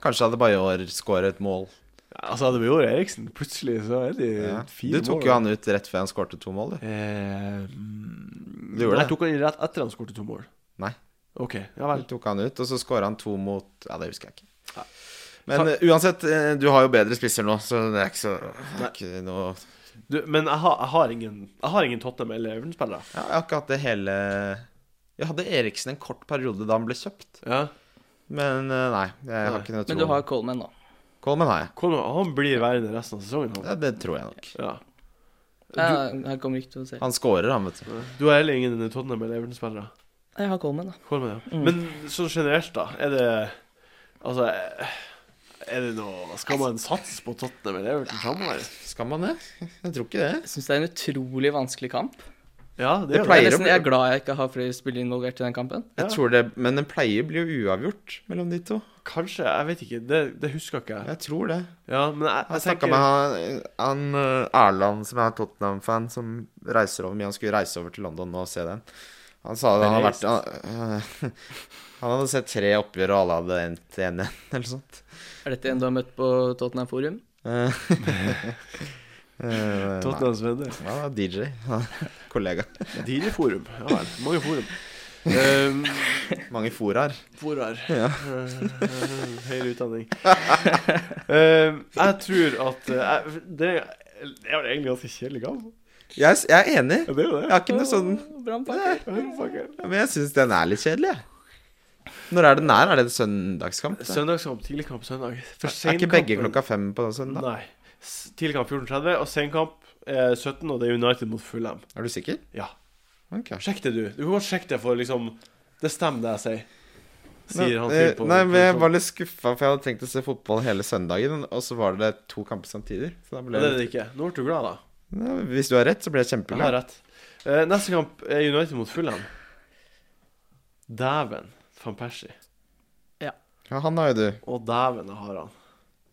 Speaker 2: Kanskje hadde Bajor skåret et mål.
Speaker 1: Ja, altså hadde vi gjort Eriksen, plutselig så er de
Speaker 2: Ja.
Speaker 1: Eh, fire
Speaker 2: Du tok jo han ut rett før han skårte to mål, du.
Speaker 1: Du
Speaker 2: Du
Speaker 1: Eh, Nei,
Speaker 2: gjorde det.
Speaker 1: tok han inn rett etter han skåret to mål?
Speaker 2: Nei.
Speaker 1: OK, ja vel.
Speaker 2: Du tok han ut, og så skåra han to mot Ja, det husker jeg
Speaker 1: Nei.
Speaker 2: ikke. Men eh, uansett, eh, du har jo bedre spisser nå, så det er ikke så det
Speaker 1: Nei.
Speaker 2: er ikke noe
Speaker 1: Du, men jeg har, jeg har ingen Jeg har ingen Tottenham eller Everton-spillere.
Speaker 2: ja, Jeg har ikke hatt det hele Jeg hadde Eriksen en kort periode da han ble kjøpt,
Speaker 1: Ja.
Speaker 2: men eh, nei. Jeg har
Speaker 1: Nei.
Speaker 2: ikke noe tro.
Speaker 3: Men du har Coleman nå.
Speaker 2: Coleman har jeg.
Speaker 1: Kommer, han blir værende resten av sesongen, han.
Speaker 2: Ja, det tror jeg nok.
Speaker 1: Ja.
Speaker 3: Jeg, jeg kommer ikke til å se.
Speaker 2: Han scorer, han, vet du.
Speaker 1: Du har heller ingen Tottenham eller Everton-spillere?
Speaker 3: Jeg har Coleman, da.
Speaker 1: Kolmen, ja. Men sånn generelt, da, er det Altså Er det noe Skal man satse på Tottenham eller Everton framover?
Speaker 2: Skal man det? Jeg tror ikke det.
Speaker 3: Jeg syns det er en utrolig vanskelig kamp.
Speaker 1: Ja, det
Speaker 2: Det
Speaker 1: er jo det.
Speaker 2: pleier
Speaker 3: Jeg er,
Speaker 2: å
Speaker 3: nesten,
Speaker 2: bli-
Speaker 3: jeg er glad jeg ikke har flere spillere involvert i den kampen.
Speaker 1: Ja.
Speaker 2: Jeg tror det, Men den pleier å bli uavgjort mellom de to.
Speaker 1: Kanskje, jeg vet ikke. Det, det husker ikke jeg.
Speaker 2: Jeg tror det.
Speaker 1: Ja, men jeg,
Speaker 2: Jeg
Speaker 1: jeg
Speaker 2: snakka
Speaker 1: tenker
Speaker 2: med han, han eh, Erland, som er Tottenham-fan, som reiser over mye. Han skulle reise over til London nå og se den. Han sa det, han hadde vært han, eh, han hadde sett tre oppgjør, og alle hadde endt 1-1, eller sånt.
Speaker 3: Er dette en du har møtt på Tottenham Forum?
Speaker 2: Eh, eh, nei,
Speaker 1: Tottenhams venner.
Speaker 2: Han var DJ. Han er Kollega.
Speaker 1: Dine forum. Ja vel. Mange forum. Um,
Speaker 2: Mange foraer.
Speaker 1: Forar.
Speaker 2: Ja.
Speaker 1: Høyere utdanning. Um, jeg tror at eh, jeg, Det det er vel egentlig ganske kjedelig kamp.
Speaker 2: Jeg, s- jeg er enig,
Speaker 1: Ja, det er jo
Speaker 2: Jeg
Speaker 1: det.
Speaker 2: har ikke noe sånn,
Speaker 3: Bra med pakker.
Speaker 1: Fucker.
Speaker 2: men jeg syns den er litt kjedelig, jeg. Når er den her? Er det søndagskamp? det?
Speaker 1: Søndagskamp, tidligkamp søndag. For
Speaker 2: Er ikke begge
Speaker 1: senkampen-
Speaker 2: klokka fem på søndag?
Speaker 1: Nei. S- Tidligkamp 14.30 og senkamp eh, 17, og det er United mot Fulham.
Speaker 2: Er du sikker?
Speaker 1: Ja.
Speaker 2: Ok.
Speaker 1: Sjekk det, du. Du kan godt sjekke det, for liksom Det stemmer, det jeg sier. Sier han
Speaker 2: Nei, eh,
Speaker 1: fyren på
Speaker 2: Nei, men jeg
Speaker 1: på-
Speaker 2: var litt skuffa, for jeg hadde tenkt å se fotball hele søndagen, og så var det to kamper samtidig. Så da
Speaker 1: Ja,
Speaker 2: ble
Speaker 1: Det er
Speaker 2: jeg...
Speaker 1: det ikke. Nå ble du glad, da.
Speaker 2: Nei, Hvis du har rett, så blir jeg
Speaker 1: Jeg har
Speaker 2: kjempeglad.
Speaker 1: rett. Eh, neste kamp er United mot Fulham. Dæven. Van Persie.
Speaker 3: Ja.
Speaker 2: Ja, han har jo du.
Speaker 1: Å, dæven, jeg har han.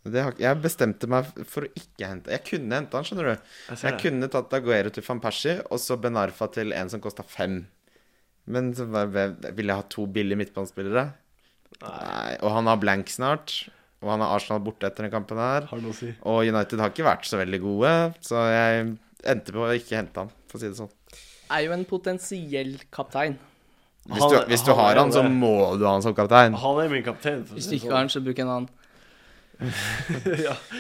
Speaker 2: Det har, jeg bestemte meg for å ikke hente Jeg kunne hente han, skjønner du.
Speaker 1: Jeg
Speaker 2: Jeg
Speaker 1: ser det.
Speaker 2: kunne tatt Aguero til van Persie og så Ben Arfa til en som kosta fem. Men så var jeg- ville jeg ha to billige midtbanespillere? Nei. Og han har blank snart. Og han har Arsenal borte etter den kampen her.
Speaker 1: Har det noe å si?
Speaker 2: Og United har ikke vært så veldig gode, så jeg endte på å ikke hente han, for å si det sånn.
Speaker 3: Er jo en potensiell kaptein.
Speaker 2: Hvis du,
Speaker 1: Han-
Speaker 2: hvis du
Speaker 1: han er
Speaker 2: har
Speaker 1: jo
Speaker 2: han, så
Speaker 1: det.
Speaker 2: må du ha han som kaptein.
Speaker 1: Han er min kaptein. for å
Speaker 3: Hvis
Speaker 1: si det
Speaker 3: du ikke
Speaker 1: sånn.
Speaker 3: har den, så bruk en annen.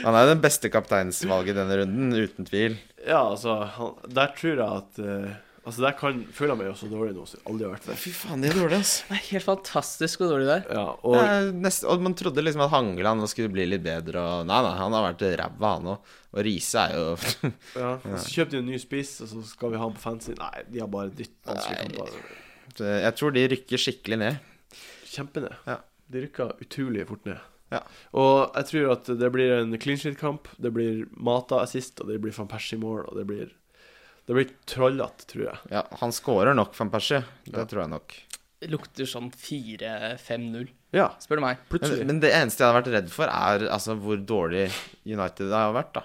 Speaker 2: Han er jo den beste kapteinsvalget i denne runden, uten tvil.
Speaker 1: Ja, altså, han, der tror jeg at eh, Altså, der kan, føler jeg meg jo så dårlig nå som jeg aldri har vært det.
Speaker 2: Fy faen, de er dårlige, altså.
Speaker 3: Det er helt fantastisk hvor dårlig det er.
Speaker 1: Ja, og
Speaker 2: Det er nest- og man trodde liksom at Hangeland nå skulle bli litt bedre, og nei, nei, han har vært ræva, han òg. Og Riise er jo
Speaker 1: ja, og så kjøpte de en ny spiss, og så skal vi ha han på fancy. Nei, de har bare dytt vanskelige
Speaker 2: Nei.
Speaker 1: kamper.
Speaker 2: Jeg tror de rykker skikkelig ned.
Speaker 1: Kjempened.
Speaker 2: Ja.
Speaker 1: De rykka utrolig fort ned.
Speaker 2: Ja.
Speaker 1: Og jeg tror at det blir en clean shit-kamp. Det blir Mata assist, og det blir van Persie mål, og det blir Det blir trollete, tror jeg.
Speaker 2: Ja, han scorer nok, van Persie. Det tror jeg nok.
Speaker 3: Det lukter sånn 4-5-0,
Speaker 1: Ja,
Speaker 3: spør du meg.
Speaker 2: Men,
Speaker 1: plutselig.
Speaker 2: men det eneste jeg hadde vært redd for, er altså hvor dårlig United har vært, da.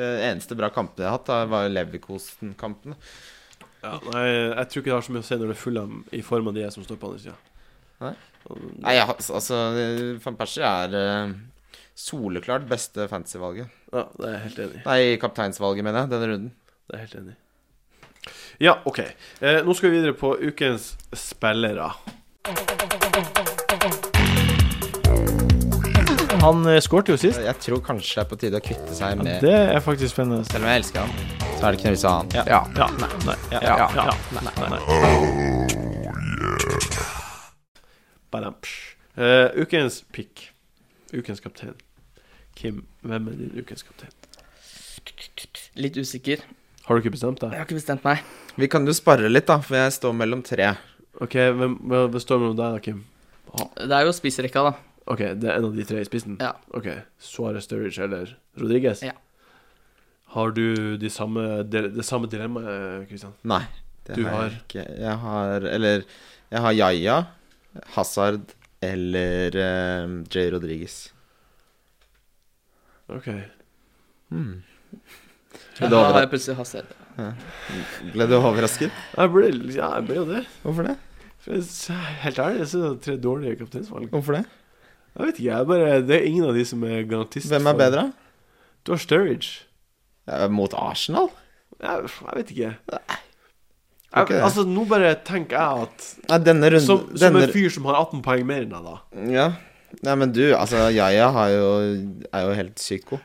Speaker 2: Det eneste bra kampen de har hatt, da, var Leverkosten-kampen.
Speaker 1: ja, nei, jeg tror ikke det har så mye å si når det er Fulham i form av de som står på andre sida.
Speaker 2: Nei.
Speaker 1: Og-
Speaker 2: Nei, jeg, har- altså Van Persie er eh, soleklart beste fantasyvalget.
Speaker 1: Ja, det er jeg helt enig i.
Speaker 2: Nei, kapteinsvalget, mener jeg, denne runden.
Speaker 1: Det er jeg helt enig i. Ja, OK. Eh, nå skal vi videre på ukens spillere.
Speaker 4: Han eh, skårte jo sist.
Speaker 2: Jeg tror kanskje det er på tide å kvitte seg med
Speaker 4: Det er faktisk spennende.
Speaker 2: Selv om jeg elsker han, så er det ikke noe vits i å ha han.
Speaker 4: Ja. Ja. Nei. Nei. Ja. Ja. Ja.
Speaker 1: Badam, psh. Eh, ukens pick. Ukens kaptein. Kim, hvem er din ukens kaptein?
Speaker 3: Litt usikker.
Speaker 1: Har du ikke bestemt
Speaker 3: Jeg
Speaker 1: deg?
Speaker 3: har ikke bestemt meg.
Speaker 2: Vi kan jo spare litt, da, for jeg står mellom tre.
Speaker 1: OK, hvem hva består mellom deg da, Kim?
Speaker 3: Det er jo spissrekka, da.
Speaker 1: OK, det er en av de tre i spissen?
Speaker 3: Ja.
Speaker 1: OK. Suárez, Sturridge eller Rodriguez?
Speaker 3: Ja.
Speaker 1: Har du de samme, det, det samme dilemmaet, Kristian?
Speaker 2: Nei. Det
Speaker 1: Du
Speaker 2: har jeg
Speaker 1: har-
Speaker 2: ikke. Jeg har Eller jeg har Yaya, Hazard eller eh, Jay Rodriguez.
Speaker 1: OK.
Speaker 2: Ble du,
Speaker 3: Da har
Speaker 2: overra
Speaker 3: jeg plutselig hastighet.
Speaker 2: ble du overrasket?
Speaker 1: Jeg ble, ja, jeg ble jo det.
Speaker 2: Hvorfor det?
Speaker 1: For jeg s- Helt ærlig, jeg synes det er tre dårlige kapteinsvalg.
Speaker 2: Hvorfor det?
Speaker 1: Jeg vet ikke, jeg bare Det er ingen av de som er garantist.
Speaker 2: Hvem er
Speaker 1: for-
Speaker 2: bedre? da?
Speaker 1: Du har Sturridge.
Speaker 2: Ja, mot Arsenal?
Speaker 1: Jeg, jeg vet ikke.
Speaker 2: tror ikke
Speaker 1: Jeg,
Speaker 2: det.
Speaker 1: altså, nå bare tenker jeg at
Speaker 2: Nei, denne runden
Speaker 1: Som, som
Speaker 2: denne,
Speaker 1: en fyr som har 18 poeng mer enn deg, da.
Speaker 2: Ja. Nei, men du, altså Yaya har jo, er jo helt psyko.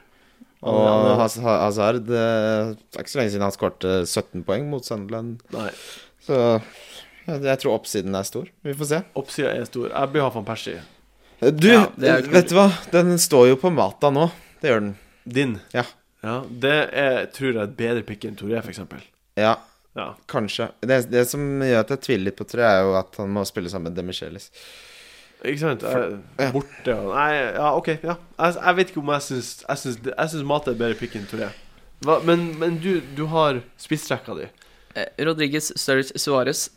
Speaker 2: Og
Speaker 1: Ja, men-
Speaker 2: Haz- Hazard eh, Det er ikke så lenge siden han skårte 17 poeng mot Sunderland.
Speaker 1: Nei,
Speaker 2: Så jeg, jeg tror oppsiden er stor. Vi får se.
Speaker 1: Oppsida er stor. Jeg bør ha van Persie.
Speaker 2: Du,
Speaker 3: Ja, det er jo ikke
Speaker 2: vet du hva? Den står jo på mata nå. Det gjør den.
Speaker 1: Din.
Speaker 2: Ja.
Speaker 1: Ja, det er, tror jeg er et bedre pick enn Toré, for eksempel
Speaker 2: Ja,
Speaker 1: Ja.
Speaker 2: kanskje. Det, det som gjør at jeg tviler litt på tre, er jo at han må spille sammen med Demichelis.
Speaker 1: Ikke sant? Jeg,
Speaker 2: ja.
Speaker 1: borte og Nei, ja, OK. Ja. Jeg, jeg vet ikke om jeg syns Jeg syns, jeg syns Mate er et bedre pick enn Toré. Hva, men, men du, du har spissrekka di.
Speaker 3: Eh, Rodriguez, Sturridge, Suárez.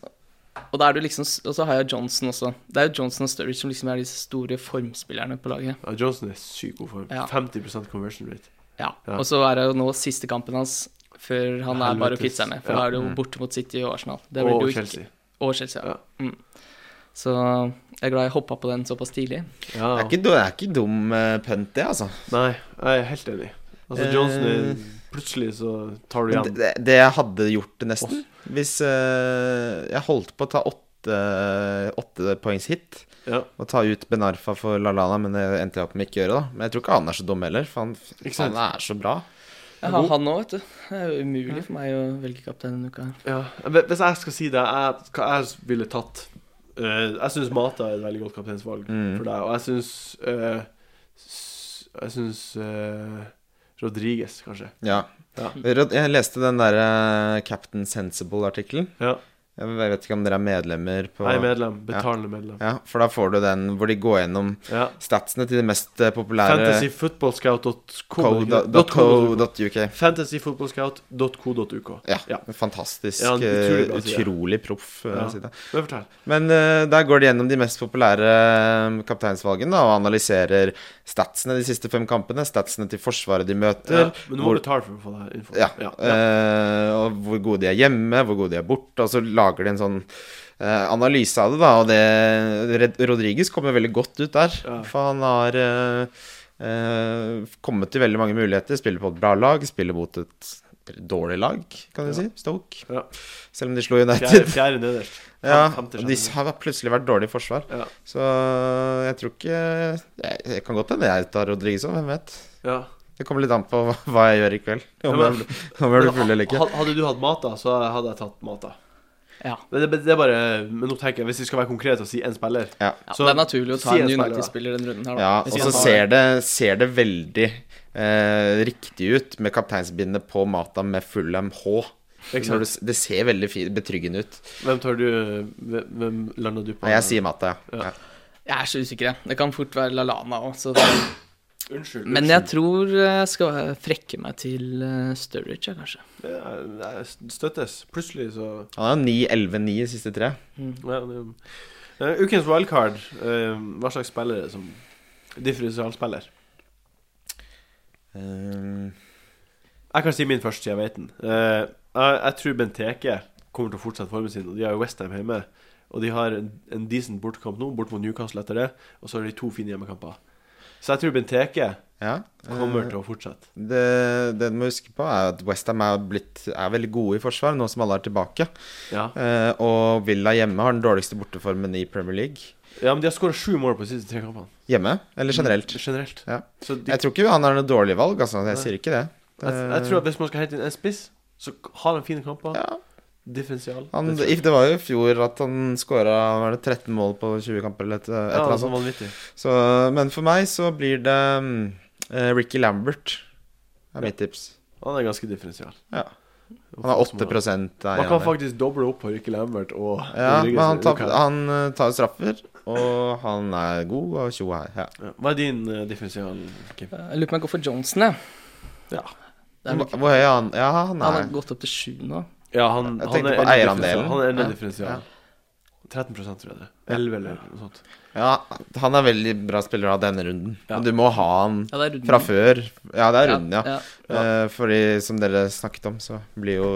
Speaker 3: Og, da er du liksom, s- og så har jeg Johnson også. Det er jo Johnson og Sturridge som liksom er de store formspillerne på laget.
Speaker 1: Ja, Johnson er sykt god form.
Speaker 3: Ja.
Speaker 1: 50 conversion rate.
Speaker 3: Ja.
Speaker 1: Ja.
Speaker 3: Og så er det jo nå siste kampen hans før han er bare å
Speaker 1: Helvetes.
Speaker 3: kvitte seg med. For
Speaker 1: Ja. Mm.
Speaker 3: da er det jo borte mot City og Arsenal. Det blir
Speaker 1: Og
Speaker 3: det jo ikke-
Speaker 1: Chelsea.
Speaker 3: Og Chelsea, ja.
Speaker 1: Ja.
Speaker 3: Mm. Så jeg er glad jeg hoppa på den såpass tidlig.
Speaker 1: Ja.
Speaker 2: Det er ikke, du- det er ikke dum eh, punt, det, altså.
Speaker 1: Nei, jeg er helt enig. Altså, Johnson er Plutselig så tar du
Speaker 2: Men
Speaker 1: igjen.
Speaker 2: Det, det jeg hadde gjort det nesten Hvis eh, jeg holdt på å ta åtte, åtte poengs hit
Speaker 1: Ja.
Speaker 2: og ta ut Benarfa for Lallana, men det endte jeg opp med ikke å gjøre, da. Men jeg tror ikke han er så dum heller, for han,
Speaker 1: Ikke sant?
Speaker 2: han er så bra.
Speaker 3: Jeg har han òg, vet du. Det er jo umulig for meg å velge kaptein denne uka. her.
Speaker 1: Ja, men Hvis jeg skal si det jeg, Hva jeg ville tatt eh, Jeg syns Mata er et veldig godt kapteinsvalg
Speaker 2: Mm.
Speaker 1: for deg. Og jeg syns Jeg syns uh, Rodriges, kanskje.
Speaker 2: Ja.
Speaker 1: Ja.
Speaker 2: Rod- Jeg leste den derre Captain eh, Sensible-artikkelen.
Speaker 1: Ja.
Speaker 2: Jeg vet ikke om dere er medlemmer på
Speaker 1: Jeg er medlem. Betalende medlem.
Speaker 2: Ja, for da får du den hvor de går gjennom
Speaker 1: Ja.
Speaker 2: statsene til de mest eh, populære
Speaker 1: Fantasyfootballscout.co.uk.
Speaker 2: Co.co.uk.
Speaker 1: Fantasyfotballscout.co.uk.
Speaker 2: Ja,
Speaker 1: Ja.
Speaker 2: en Fantastisk.
Speaker 1: Ja, en utrolig
Speaker 2: utrolig,
Speaker 1: bra side.
Speaker 2: utrolig proff eh,
Speaker 1: Ja.
Speaker 2: side.
Speaker 1: Men fortell.
Speaker 2: Men eh, der går de gjennom de mest populære eh, kapteinsvalgene da, og analyserer statsene de siste fem kampene, statsene til forsvaret de møter.
Speaker 1: Ja, men du må
Speaker 2: hvor-
Speaker 1: betale for å få det her info.
Speaker 2: Ja.
Speaker 1: ja.
Speaker 2: eh, og hvor gode de er hjemme, hvor gode de er borte. Og så lager de en sånn eh, analyse av det, da. Og det Red Rodriguez kommer veldig godt ut der.
Speaker 1: Ja.
Speaker 2: For han har eh, eh, kommet til veldig mange muligheter. Spiller på et bra lag, spiller mot et dårlig lag, kan du
Speaker 1: Ja.
Speaker 2: si. Stoke.
Speaker 1: Ja.
Speaker 2: Selv om de slo United.
Speaker 1: Fjerde, fjerde nederst. Fem-
Speaker 2: Ja, og
Speaker 1: femte,
Speaker 2: de
Speaker 1: sjette.
Speaker 2: har plutselig vært dårlig i forsvar.
Speaker 1: Ja.
Speaker 2: Så eh, jeg tror ikke Jeg, jeg kan godt hende jeg tar Rodriguez òg, hvem vet.
Speaker 1: ja.
Speaker 2: Det kommer litt an på hva- hva jeg gjør i kveld. Om
Speaker 1: Ja,
Speaker 2: jeg,
Speaker 1: men-
Speaker 2: blir- om jeg blir full eller ikke.
Speaker 1: Had- Hadde du hatt mat, da, så hadde jeg tatt mat, da.
Speaker 3: Ja.
Speaker 1: Men det, det er bare Men nå tenker jeg, hvis vi skal være konkrete og si én spiller
Speaker 2: Ja.
Speaker 3: Ja,
Speaker 1: Så-
Speaker 3: det er naturlig å ta
Speaker 1: si en
Speaker 3: en
Speaker 1: spiller, da.
Speaker 3: United-spiller denne runden her, da.
Speaker 2: Ja,
Speaker 3: Hvis
Speaker 2: og
Speaker 3: han
Speaker 2: så
Speaker 3: har-
Speaker 2: ser det, ser det veldig eh, riktig ut med kapteinsbindet på Mata med Fulham H.
Speaker 1: Ikke
Speaker 2: Når du,
Speaker 1: sant?
Speaker 2: s- det ser veldig fi- betryggende ut.
Speaker 1: Hvem tar du Hvem hvem lander du på?
Speaker 2: Nei, jeg sier Mata, ja.
Speaker 1: Ja.
Speaker 2: ja.
Speaker 3: Jeg er så usikker, jeg. Det kan fort være LaLana òg, så
Speaker 1: Unnskyld.
Speaker 3: Men jeg tror jeg skal frekke meg til eh, Sturridge, jeg, kanskje.
Speaker 1: Jeg- jeg Støttes. Plutselig så
Speaker 2: Han har 9-11-9 i siste tre.
Speaker 1: ja, det- Eh, Ukens wildcard. eh, hva slags spiller er det som Differensialspiller.
Speaker 2: Eh,
Speaker 1: Jeg kan si min først, siden jeg vet den. Eh, jeg, jeg tror Benteke kommer til å fortsette formen sin. Og De har jo Westham hjemme. Og de har en, en decent bortekamp nå, bort mot Newcastle etter det. Og så har de to fine hjemmekamper. Så jeg tror Benteke
Speaker 2: ja. Eh.
Speaker 1: kommer til å fortsette.
Speaker 2: Det, det du må huske på, er at Westham er, blitt- er veldig gode i forsvar nå som alle er tilbake.
Speaker 1: Ja,
Speaker 2: Eh, og Villa hjemme har den dårligste borteformen i Premier League.
Speaker 1: ja men de har skåra sju mål på de siste tre kampene.
Speaker 2: Hjemme, eller generelt.
Speaker 1: Generelt.
Speaker 2: Ja.
Speaker 1: Så de,
Speaker 2: Jeg tror ikke han er noe dårlig valg, altså. Jeg
Speaker 1: Mm. Nei.
Speaker 2: sier ikke det.
Speaker 1: jeg, jeg tror at hvis man skal hente inn en spiss, så har han fine kamper.
Speaker 2: Ja.
Speaker 1: Differensial.
Speaker 2: han,
Speaker 1: Det tror jeg.
Speaker 2: det var jo i fjor at han skåra 13 mål på 20 kamper eller et, et
Speaker 1: ja,
Speaker 2: eller annet.
Speaker 1: altså, vanvittig.
Speaker 2: sånt. Så, men for meg så blir det mm, eh, Ricky Lambert. er mitt tips.
Speaker 1: Han er ganske differensial.
Speaker 2: Ja. Han har 8
Speaker 1: Man kan
Speaker 2: eiendel.
Speaker 1: faktisk doble opp på Ricky Lambert og
Speaker 2: Ja,
Speaker 1: Rodriguez
Speaker 2: men
Speaker 1: i
Speaker 2: han tar,
Speaker 1: uka.
Speaker 2: han eh, tar jo straffer, og han er god og tjo her. Ja.
Speaker 1: Ja. Hva er din uh, differensial, Kim?
Speaker 3: Eh, Jeg lurer på om jeg går for Johnson, jeg.
Speaker 1: Ja.
Speaker 3: Det er vel ikke-
Speaker 2: Hvor høy er han? Ja, han
Speaker 3: Han
Speaker 2: er
Speaker 3: har gått opp til sju nå.
Speaker 1: Ja, han,
Speaker 2: Jeg
Speaker 1: han
Speaker 2: tenkte
Speaker 1: er
Speaker 2: på
Speaker 1: en
Speaker 2: eierandelen.
Speaker 1: differensial. Han er en
Speaker 2: Ja.
Speaker 1: differensial.
Speaker 2: Ja.
Speaker 1: 13 tror jeg det. er. 11 eller noe sånt.
Speaker 2: Ja, han er veldig bra spiller av denne runden.
Speaker 1: Ja. Mm.
Speaker 2: Men Du må ha han
Speaker 3: Ja, det er runden.
Speaker 2: fra før. Ja, det er runden, ja.
Speaker 3: ja.
Speaker 2: Eh, fordi som dere snakket om, så blir jo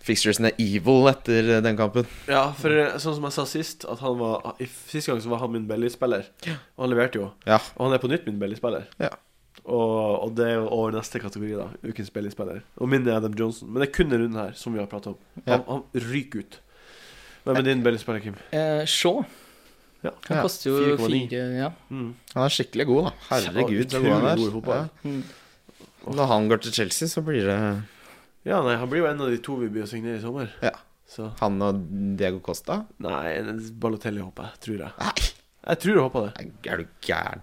Speaker 2: fixturesene evil etter eh, den kampen.
Speaker 1: Ja, for eh, sånn som jeg sa sist, at han var i, Sist gang så var han min Belly-spiller. Og han leverte jo.
Speaker 2: Ja.
Speaker 1: Og han er på nytt min Belly-spiller.
Speaker 2: Ja.
Speaker 1: Og, og det er jo over neste kategori, da. Ukens Belly-spiller. Og min er Adam Johnson. Men det er kun denne runden her, som vi har pratet om.
Speaker 2: Ja.
Speaker 1: Han, han ryker ut. Hvem er din Belly-spiller, Kim?
Speaker 3: Eh, Shaw.
Speaker 1: Ja.
Speaker 3: Han
Speaker 2: Ja,
Speaker 3: koster
Speaker 1: 4,9.
Speaker 3: jo fire Ja.
Speaker 1: Mm.
Speaker 2: Han er skikkelig god, da. Herregud, så god han
Speaker 1: Utrolig
Speaker 2: er.
Speaker 1: god i fotball.
Speaker 3: Mm.
Speaker 2: Ja. Når han går til Chelsea, så blir det
Speaker 1: Ja, nei, han blir jo en av de to vi blir å signere i sommer.
Speaker 2: Ja.
Speaker 1: Så
Speaker 2: han og Diego Costa.
Speaker 1: Nei, en- Balotelli håper jeg. Tror jeg.
Speaker 2: Nei,
Speaker 1: Jeg tror jeg håper det.
Speaker 2: er du gæren?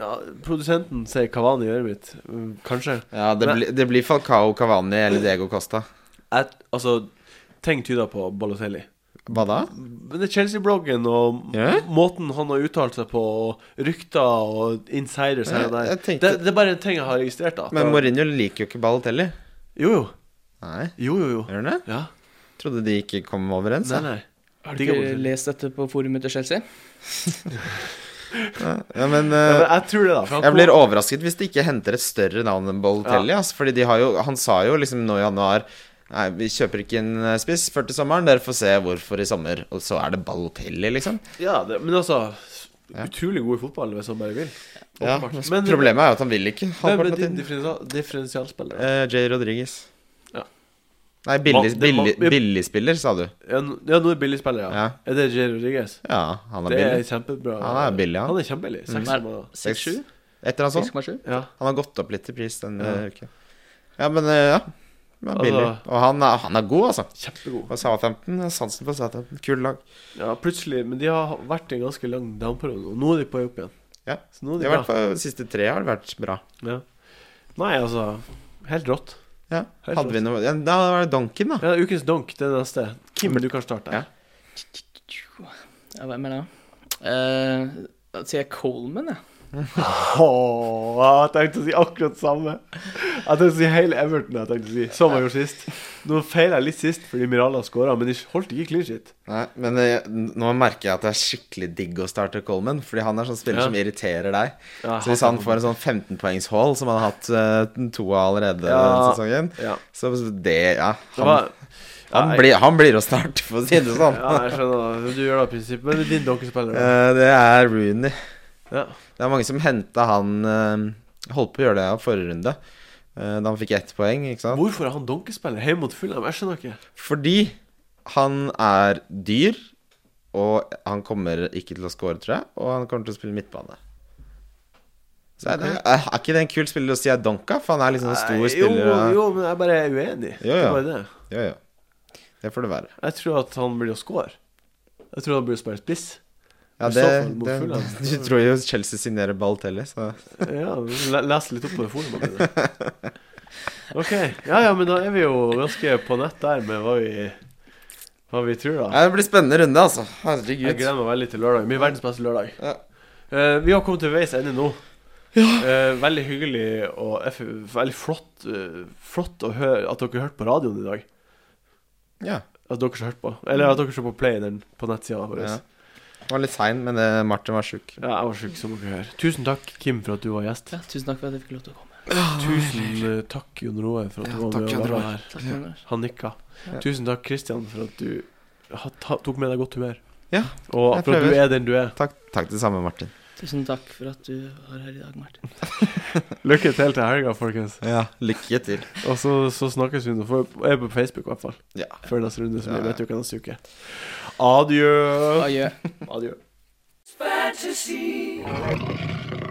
Speaker 1: Ja, produsenten sier Kavani i øret mitt. Mm, Kanskje.
Speaker 2: Ja, det,
Speaker 1: Men-
Speaker 2: blir- det blir Falcao Cavani eller Diego Costa.
Speaker 1: Jeg, altså, ting tyder på Balotelli.
Speaker 2: Hva da?
Speaker 1: Men det er Chelsea-bloggen og
Speaker 2: Ja?
Speaker 1: måten han har uttalt seg på, og rykter og insiders her og
Speaker 2: Ja,
Speaker 1: der
Speaker 2: jeg tenkte-
Speaker 1: det, det er bare en ting jeg har registrert. da at
Speaker 2: Men
Speaker 1: det-
Speaker 2: Mourinho liker jo ikke Balotelli.
Speaker 1: Jo, jo.
Speaker 2: Nei,
Speaker 1: Jo, jo. jo.
Speaker 2: gjør han det?
Speaker 1: Ja.
Speaker 2: Trodde de ikke kom overens.
Speaker 1: Nei,
Speaker 2: jeg.
Speaker 1: nei.
Speaker 3: Har du
Speaker 1: Digger
Speaker 3: ikke
Speaker 1: Balotelli.
Speaker 3: lest dette på forumet til Chelsea?
Speaker 2: Ja, men,
Speaker 1: Ja,
Speaker 2: eh,
Speaker 1: men jeg tror det, da. For han
Speaker 2: jeg
Speaker 1: kommer-
Speaker 2: blir overrasket hvis de ikke henter et større navn enn Balotelli. ass, Fordi de har jo, han sa jo liksom nå i januar Nei, vi kjøper ikke en eh, spiss før til sommeren. Dere får se hvorfor i sommer. Og så er det Balotelli, liksom.
Speaker 1: Ja, det, men altså
Speaker 2: Ja.
Speaker 1: Utrolig god i fotball hvis han bare vil.
Speaker 2: Ja,
Speaker 1: Åpenbart.
Speaker 2: men, Problemet er jo at han vil ikke.
Speaker 1: Hvem
Speaker 2: Halvparten
Speaker 1: er
Speaker 2: av
Speaker 1: din
Speaker 2: tiden.
Speaker 1: differensial, differensialspiller?
Speaker 2: Eh, Jay Rodriguez.
Speaker 1: Ja.
Speaker 2: Nei, billig,
Speaker 1: Ma- det ma-
Speaker 2: billig, billigspiller, sa du.
Speaker 1: Ja, n- ja, nå er billigspiller, ja.
Speaker 2: Ja.
Speaker 1: Er det Jerry Rodriguez?
Speaker 2: ja, han er
Speaker 1: Det er
Speaker 2: billig.
Speaker 1: kjempebra.
Speaker 2: Han er billig, han.
Speaker 1: Han er kjempebillig. Seks
Speaker 3: Mm.
Speaker 1: måneder.
Speaker 2: Seks-
Speaker 3: 6-7?
Speaker 2: Etter han sånn.
Speaker 3: 6,7?
Speaker 1: Ja.
Speaker 2: Han har gått opp litt i pris denne
Speaker 1: Ja.
Speaker 2: uken. Ja, men eh, ja. Han er billig.
Speaker 1: Altså-
Speaker 2: Og han er, han er god, altså.
Speaker 1: Kjempegod.
Speaker 2: Og Southampton, jeg har sansen på Southampton. Kul lag.
Speaker 1: Ja, plutselig Men de har vært i en ganske lang downperiode, og nå er de på vei opp igjen.
Speaker 2: Ja.
Speaker 1: Så nå
Speaker 2: De
Speaker 1: er de
Speaker 2: har vært
Speaker 1: bra.
Speaker 2: på, de siste tre har det vært bra.
Speaker 1: Ja. Nei, altså Helt rått.
Speaker 2: Ja,
Speaker 1: Helt
Speaker 2: hadde vi noe ja, Da var det Donken, da.
Speaker 1: Ja, det er ukens donk. Det er det neste. Kim, du kan starte.
Speaker 2: Ja.
Speaker 3: Ja, hvem er det? Eh, Da sier jeg Coleman, jeg.
Speaker 1: Åh, jeg tenkte å si akkurat samme. Jeg tenkte å si hele Everton. jeg tenkte å si Som jeg gjorde sist. Nå feila jeg litt sist fordi Mirala skåra, men de holdt ikke clean shit.
Speaker 2: Nei, men eh, nå merker jeg at det er skikkelig digg å starte Coleman. Fordi han er sånn spiller
Speaker 1: Ja.
Speaker 2: som irriterer deg.
Speaker 1: Ja,
Speaker 2: så hvis han får en sånn 15-poengs-haul, som han har hatt eh, to av allerede
Speaker 1: Ja.
Speaker 2: denne sesongen,
Speaker 1: Ja.
Speaker 2: så det Ja.
Speaker 1: Det
Speaker 2: Han,
Speaker 1: var,
Speaker 2: han,
Speaker 1: ja,
Speaker 2: blir, han blir å starte, for å si det sånn.
Speaker 1: ja, jeg skjønner. Du gjør det av prinsipp, men det er din donkespiller. da.
Speaker 2: Eh, det er Rooney.
Speaker 1: Ja.
Speaker 2: Det er mange som henta han eh, Holdt på å gjøre det av forrige runde, eh, da han fikk ett poeng, ikke sant?
Speaker 1: Hvorfor er han donkespiller hjemme mot Fulham? Jeg skjønner ikke.
Speaker 2: Fordi han er dyr, og han kommer ikke til å score, tror jeg. Og han kommer til å spille midtbane. Så er, det, er er ikke det en kul spiller å si er Donka? For han er liksom en stor
Speaker 1: Nei,
Speaker 2: spiller.
Speaker 1: Jo,
Speaker 2: og-
Speaker 1: jo, men jeg bare er uenig.
Speaker 2: Jo,
Speaker 1: Det
Speaker 2: ja.
Speaker 1: er bare det.
Speaker 2: jo, jo. Det får det være.
Speaker 1: Jeg tror at han blir å score. Jeg tror han blir å spille spiss.
Speaker 2: Ja,
Speaker 1: I
Speaker 2: det,
Speaker 1: så fall mot
Speaker 2: det,
Speaker 1: Fulham.
Speaker 2: du tror jo Chelsea signerer Balotelli, så
Speaker 1: Ja, le- les litt opp på det forumet. det. Ok. Ja ja, men da er vi jo ganske på nett der med hva vi, hva vi tror, da.
Speaker 2: ja, Det blir spennende runde, altså.
Speaker 1: Jeg
Speaker 2: Herregud.
Speaker 1: gleder meg veldig til lørdag. Min verdens beste lørdag.
Speaker 2: Ja.
Speaker 1: Eh, vi har kommet til veis ende nå. Eh, veldig hyggelig og eff- veldig flott, eh, flott å høre at dere hørte på radioen i dag.
Speaker 2: Ja.
Speaker 1: At dere hørte på. Eller at dere så på Playeren på altså. nettsida vår.
Speaker 2: ja.
Speaker 1: Ja.
Speaker 2: Det var litt sein, men eh, Martin var sjuk.
Speaker 1: jeg var sjuk, som dere hører. Tusen takk, Kim, for at du var gjest.
Speaker 3: Ja, tusen takk for at jeg fikk lov til å komme.
Speaker 2: Ah,
Speaker 1: Tusen eh, takk, Jon Roe, for at du var med og var her.
Speaker 3: Takk for det.
Speaker 1: Han nikka.
Speaker 2: Ja.
Speaker 1: Tusen takk, Kristian, for at du ha- ta- tok med deg godt humør.
Speaker 2: Ja,
Speaker 1: Og
Speaker 2: jeg
Speaker 1: for at du
Speaker 2: prøver.
Speaker 1: er den du er.
Speaker 2: Takk, takk det samme, Martin.
Speaker 3: Tusen takk for at du var her i dag, Martin.
Speaker 1: Lykke til til helga, folkens.
Speaker 2: Ja, lykke til.
Speaker 1: Og så, så snakkes vi nå. For jeg er på Facebook, i hvert fall.
Speaker 2: Ja.
Speaker 1: Før neste runde, som
Speaker 2: Ja,
Speaker 1: blir
Speaker 2: ja.
Speaker 1: vet du hva neste uke. Adjø.
Speaker 3: Adjø.
Speaker 1: Adjø.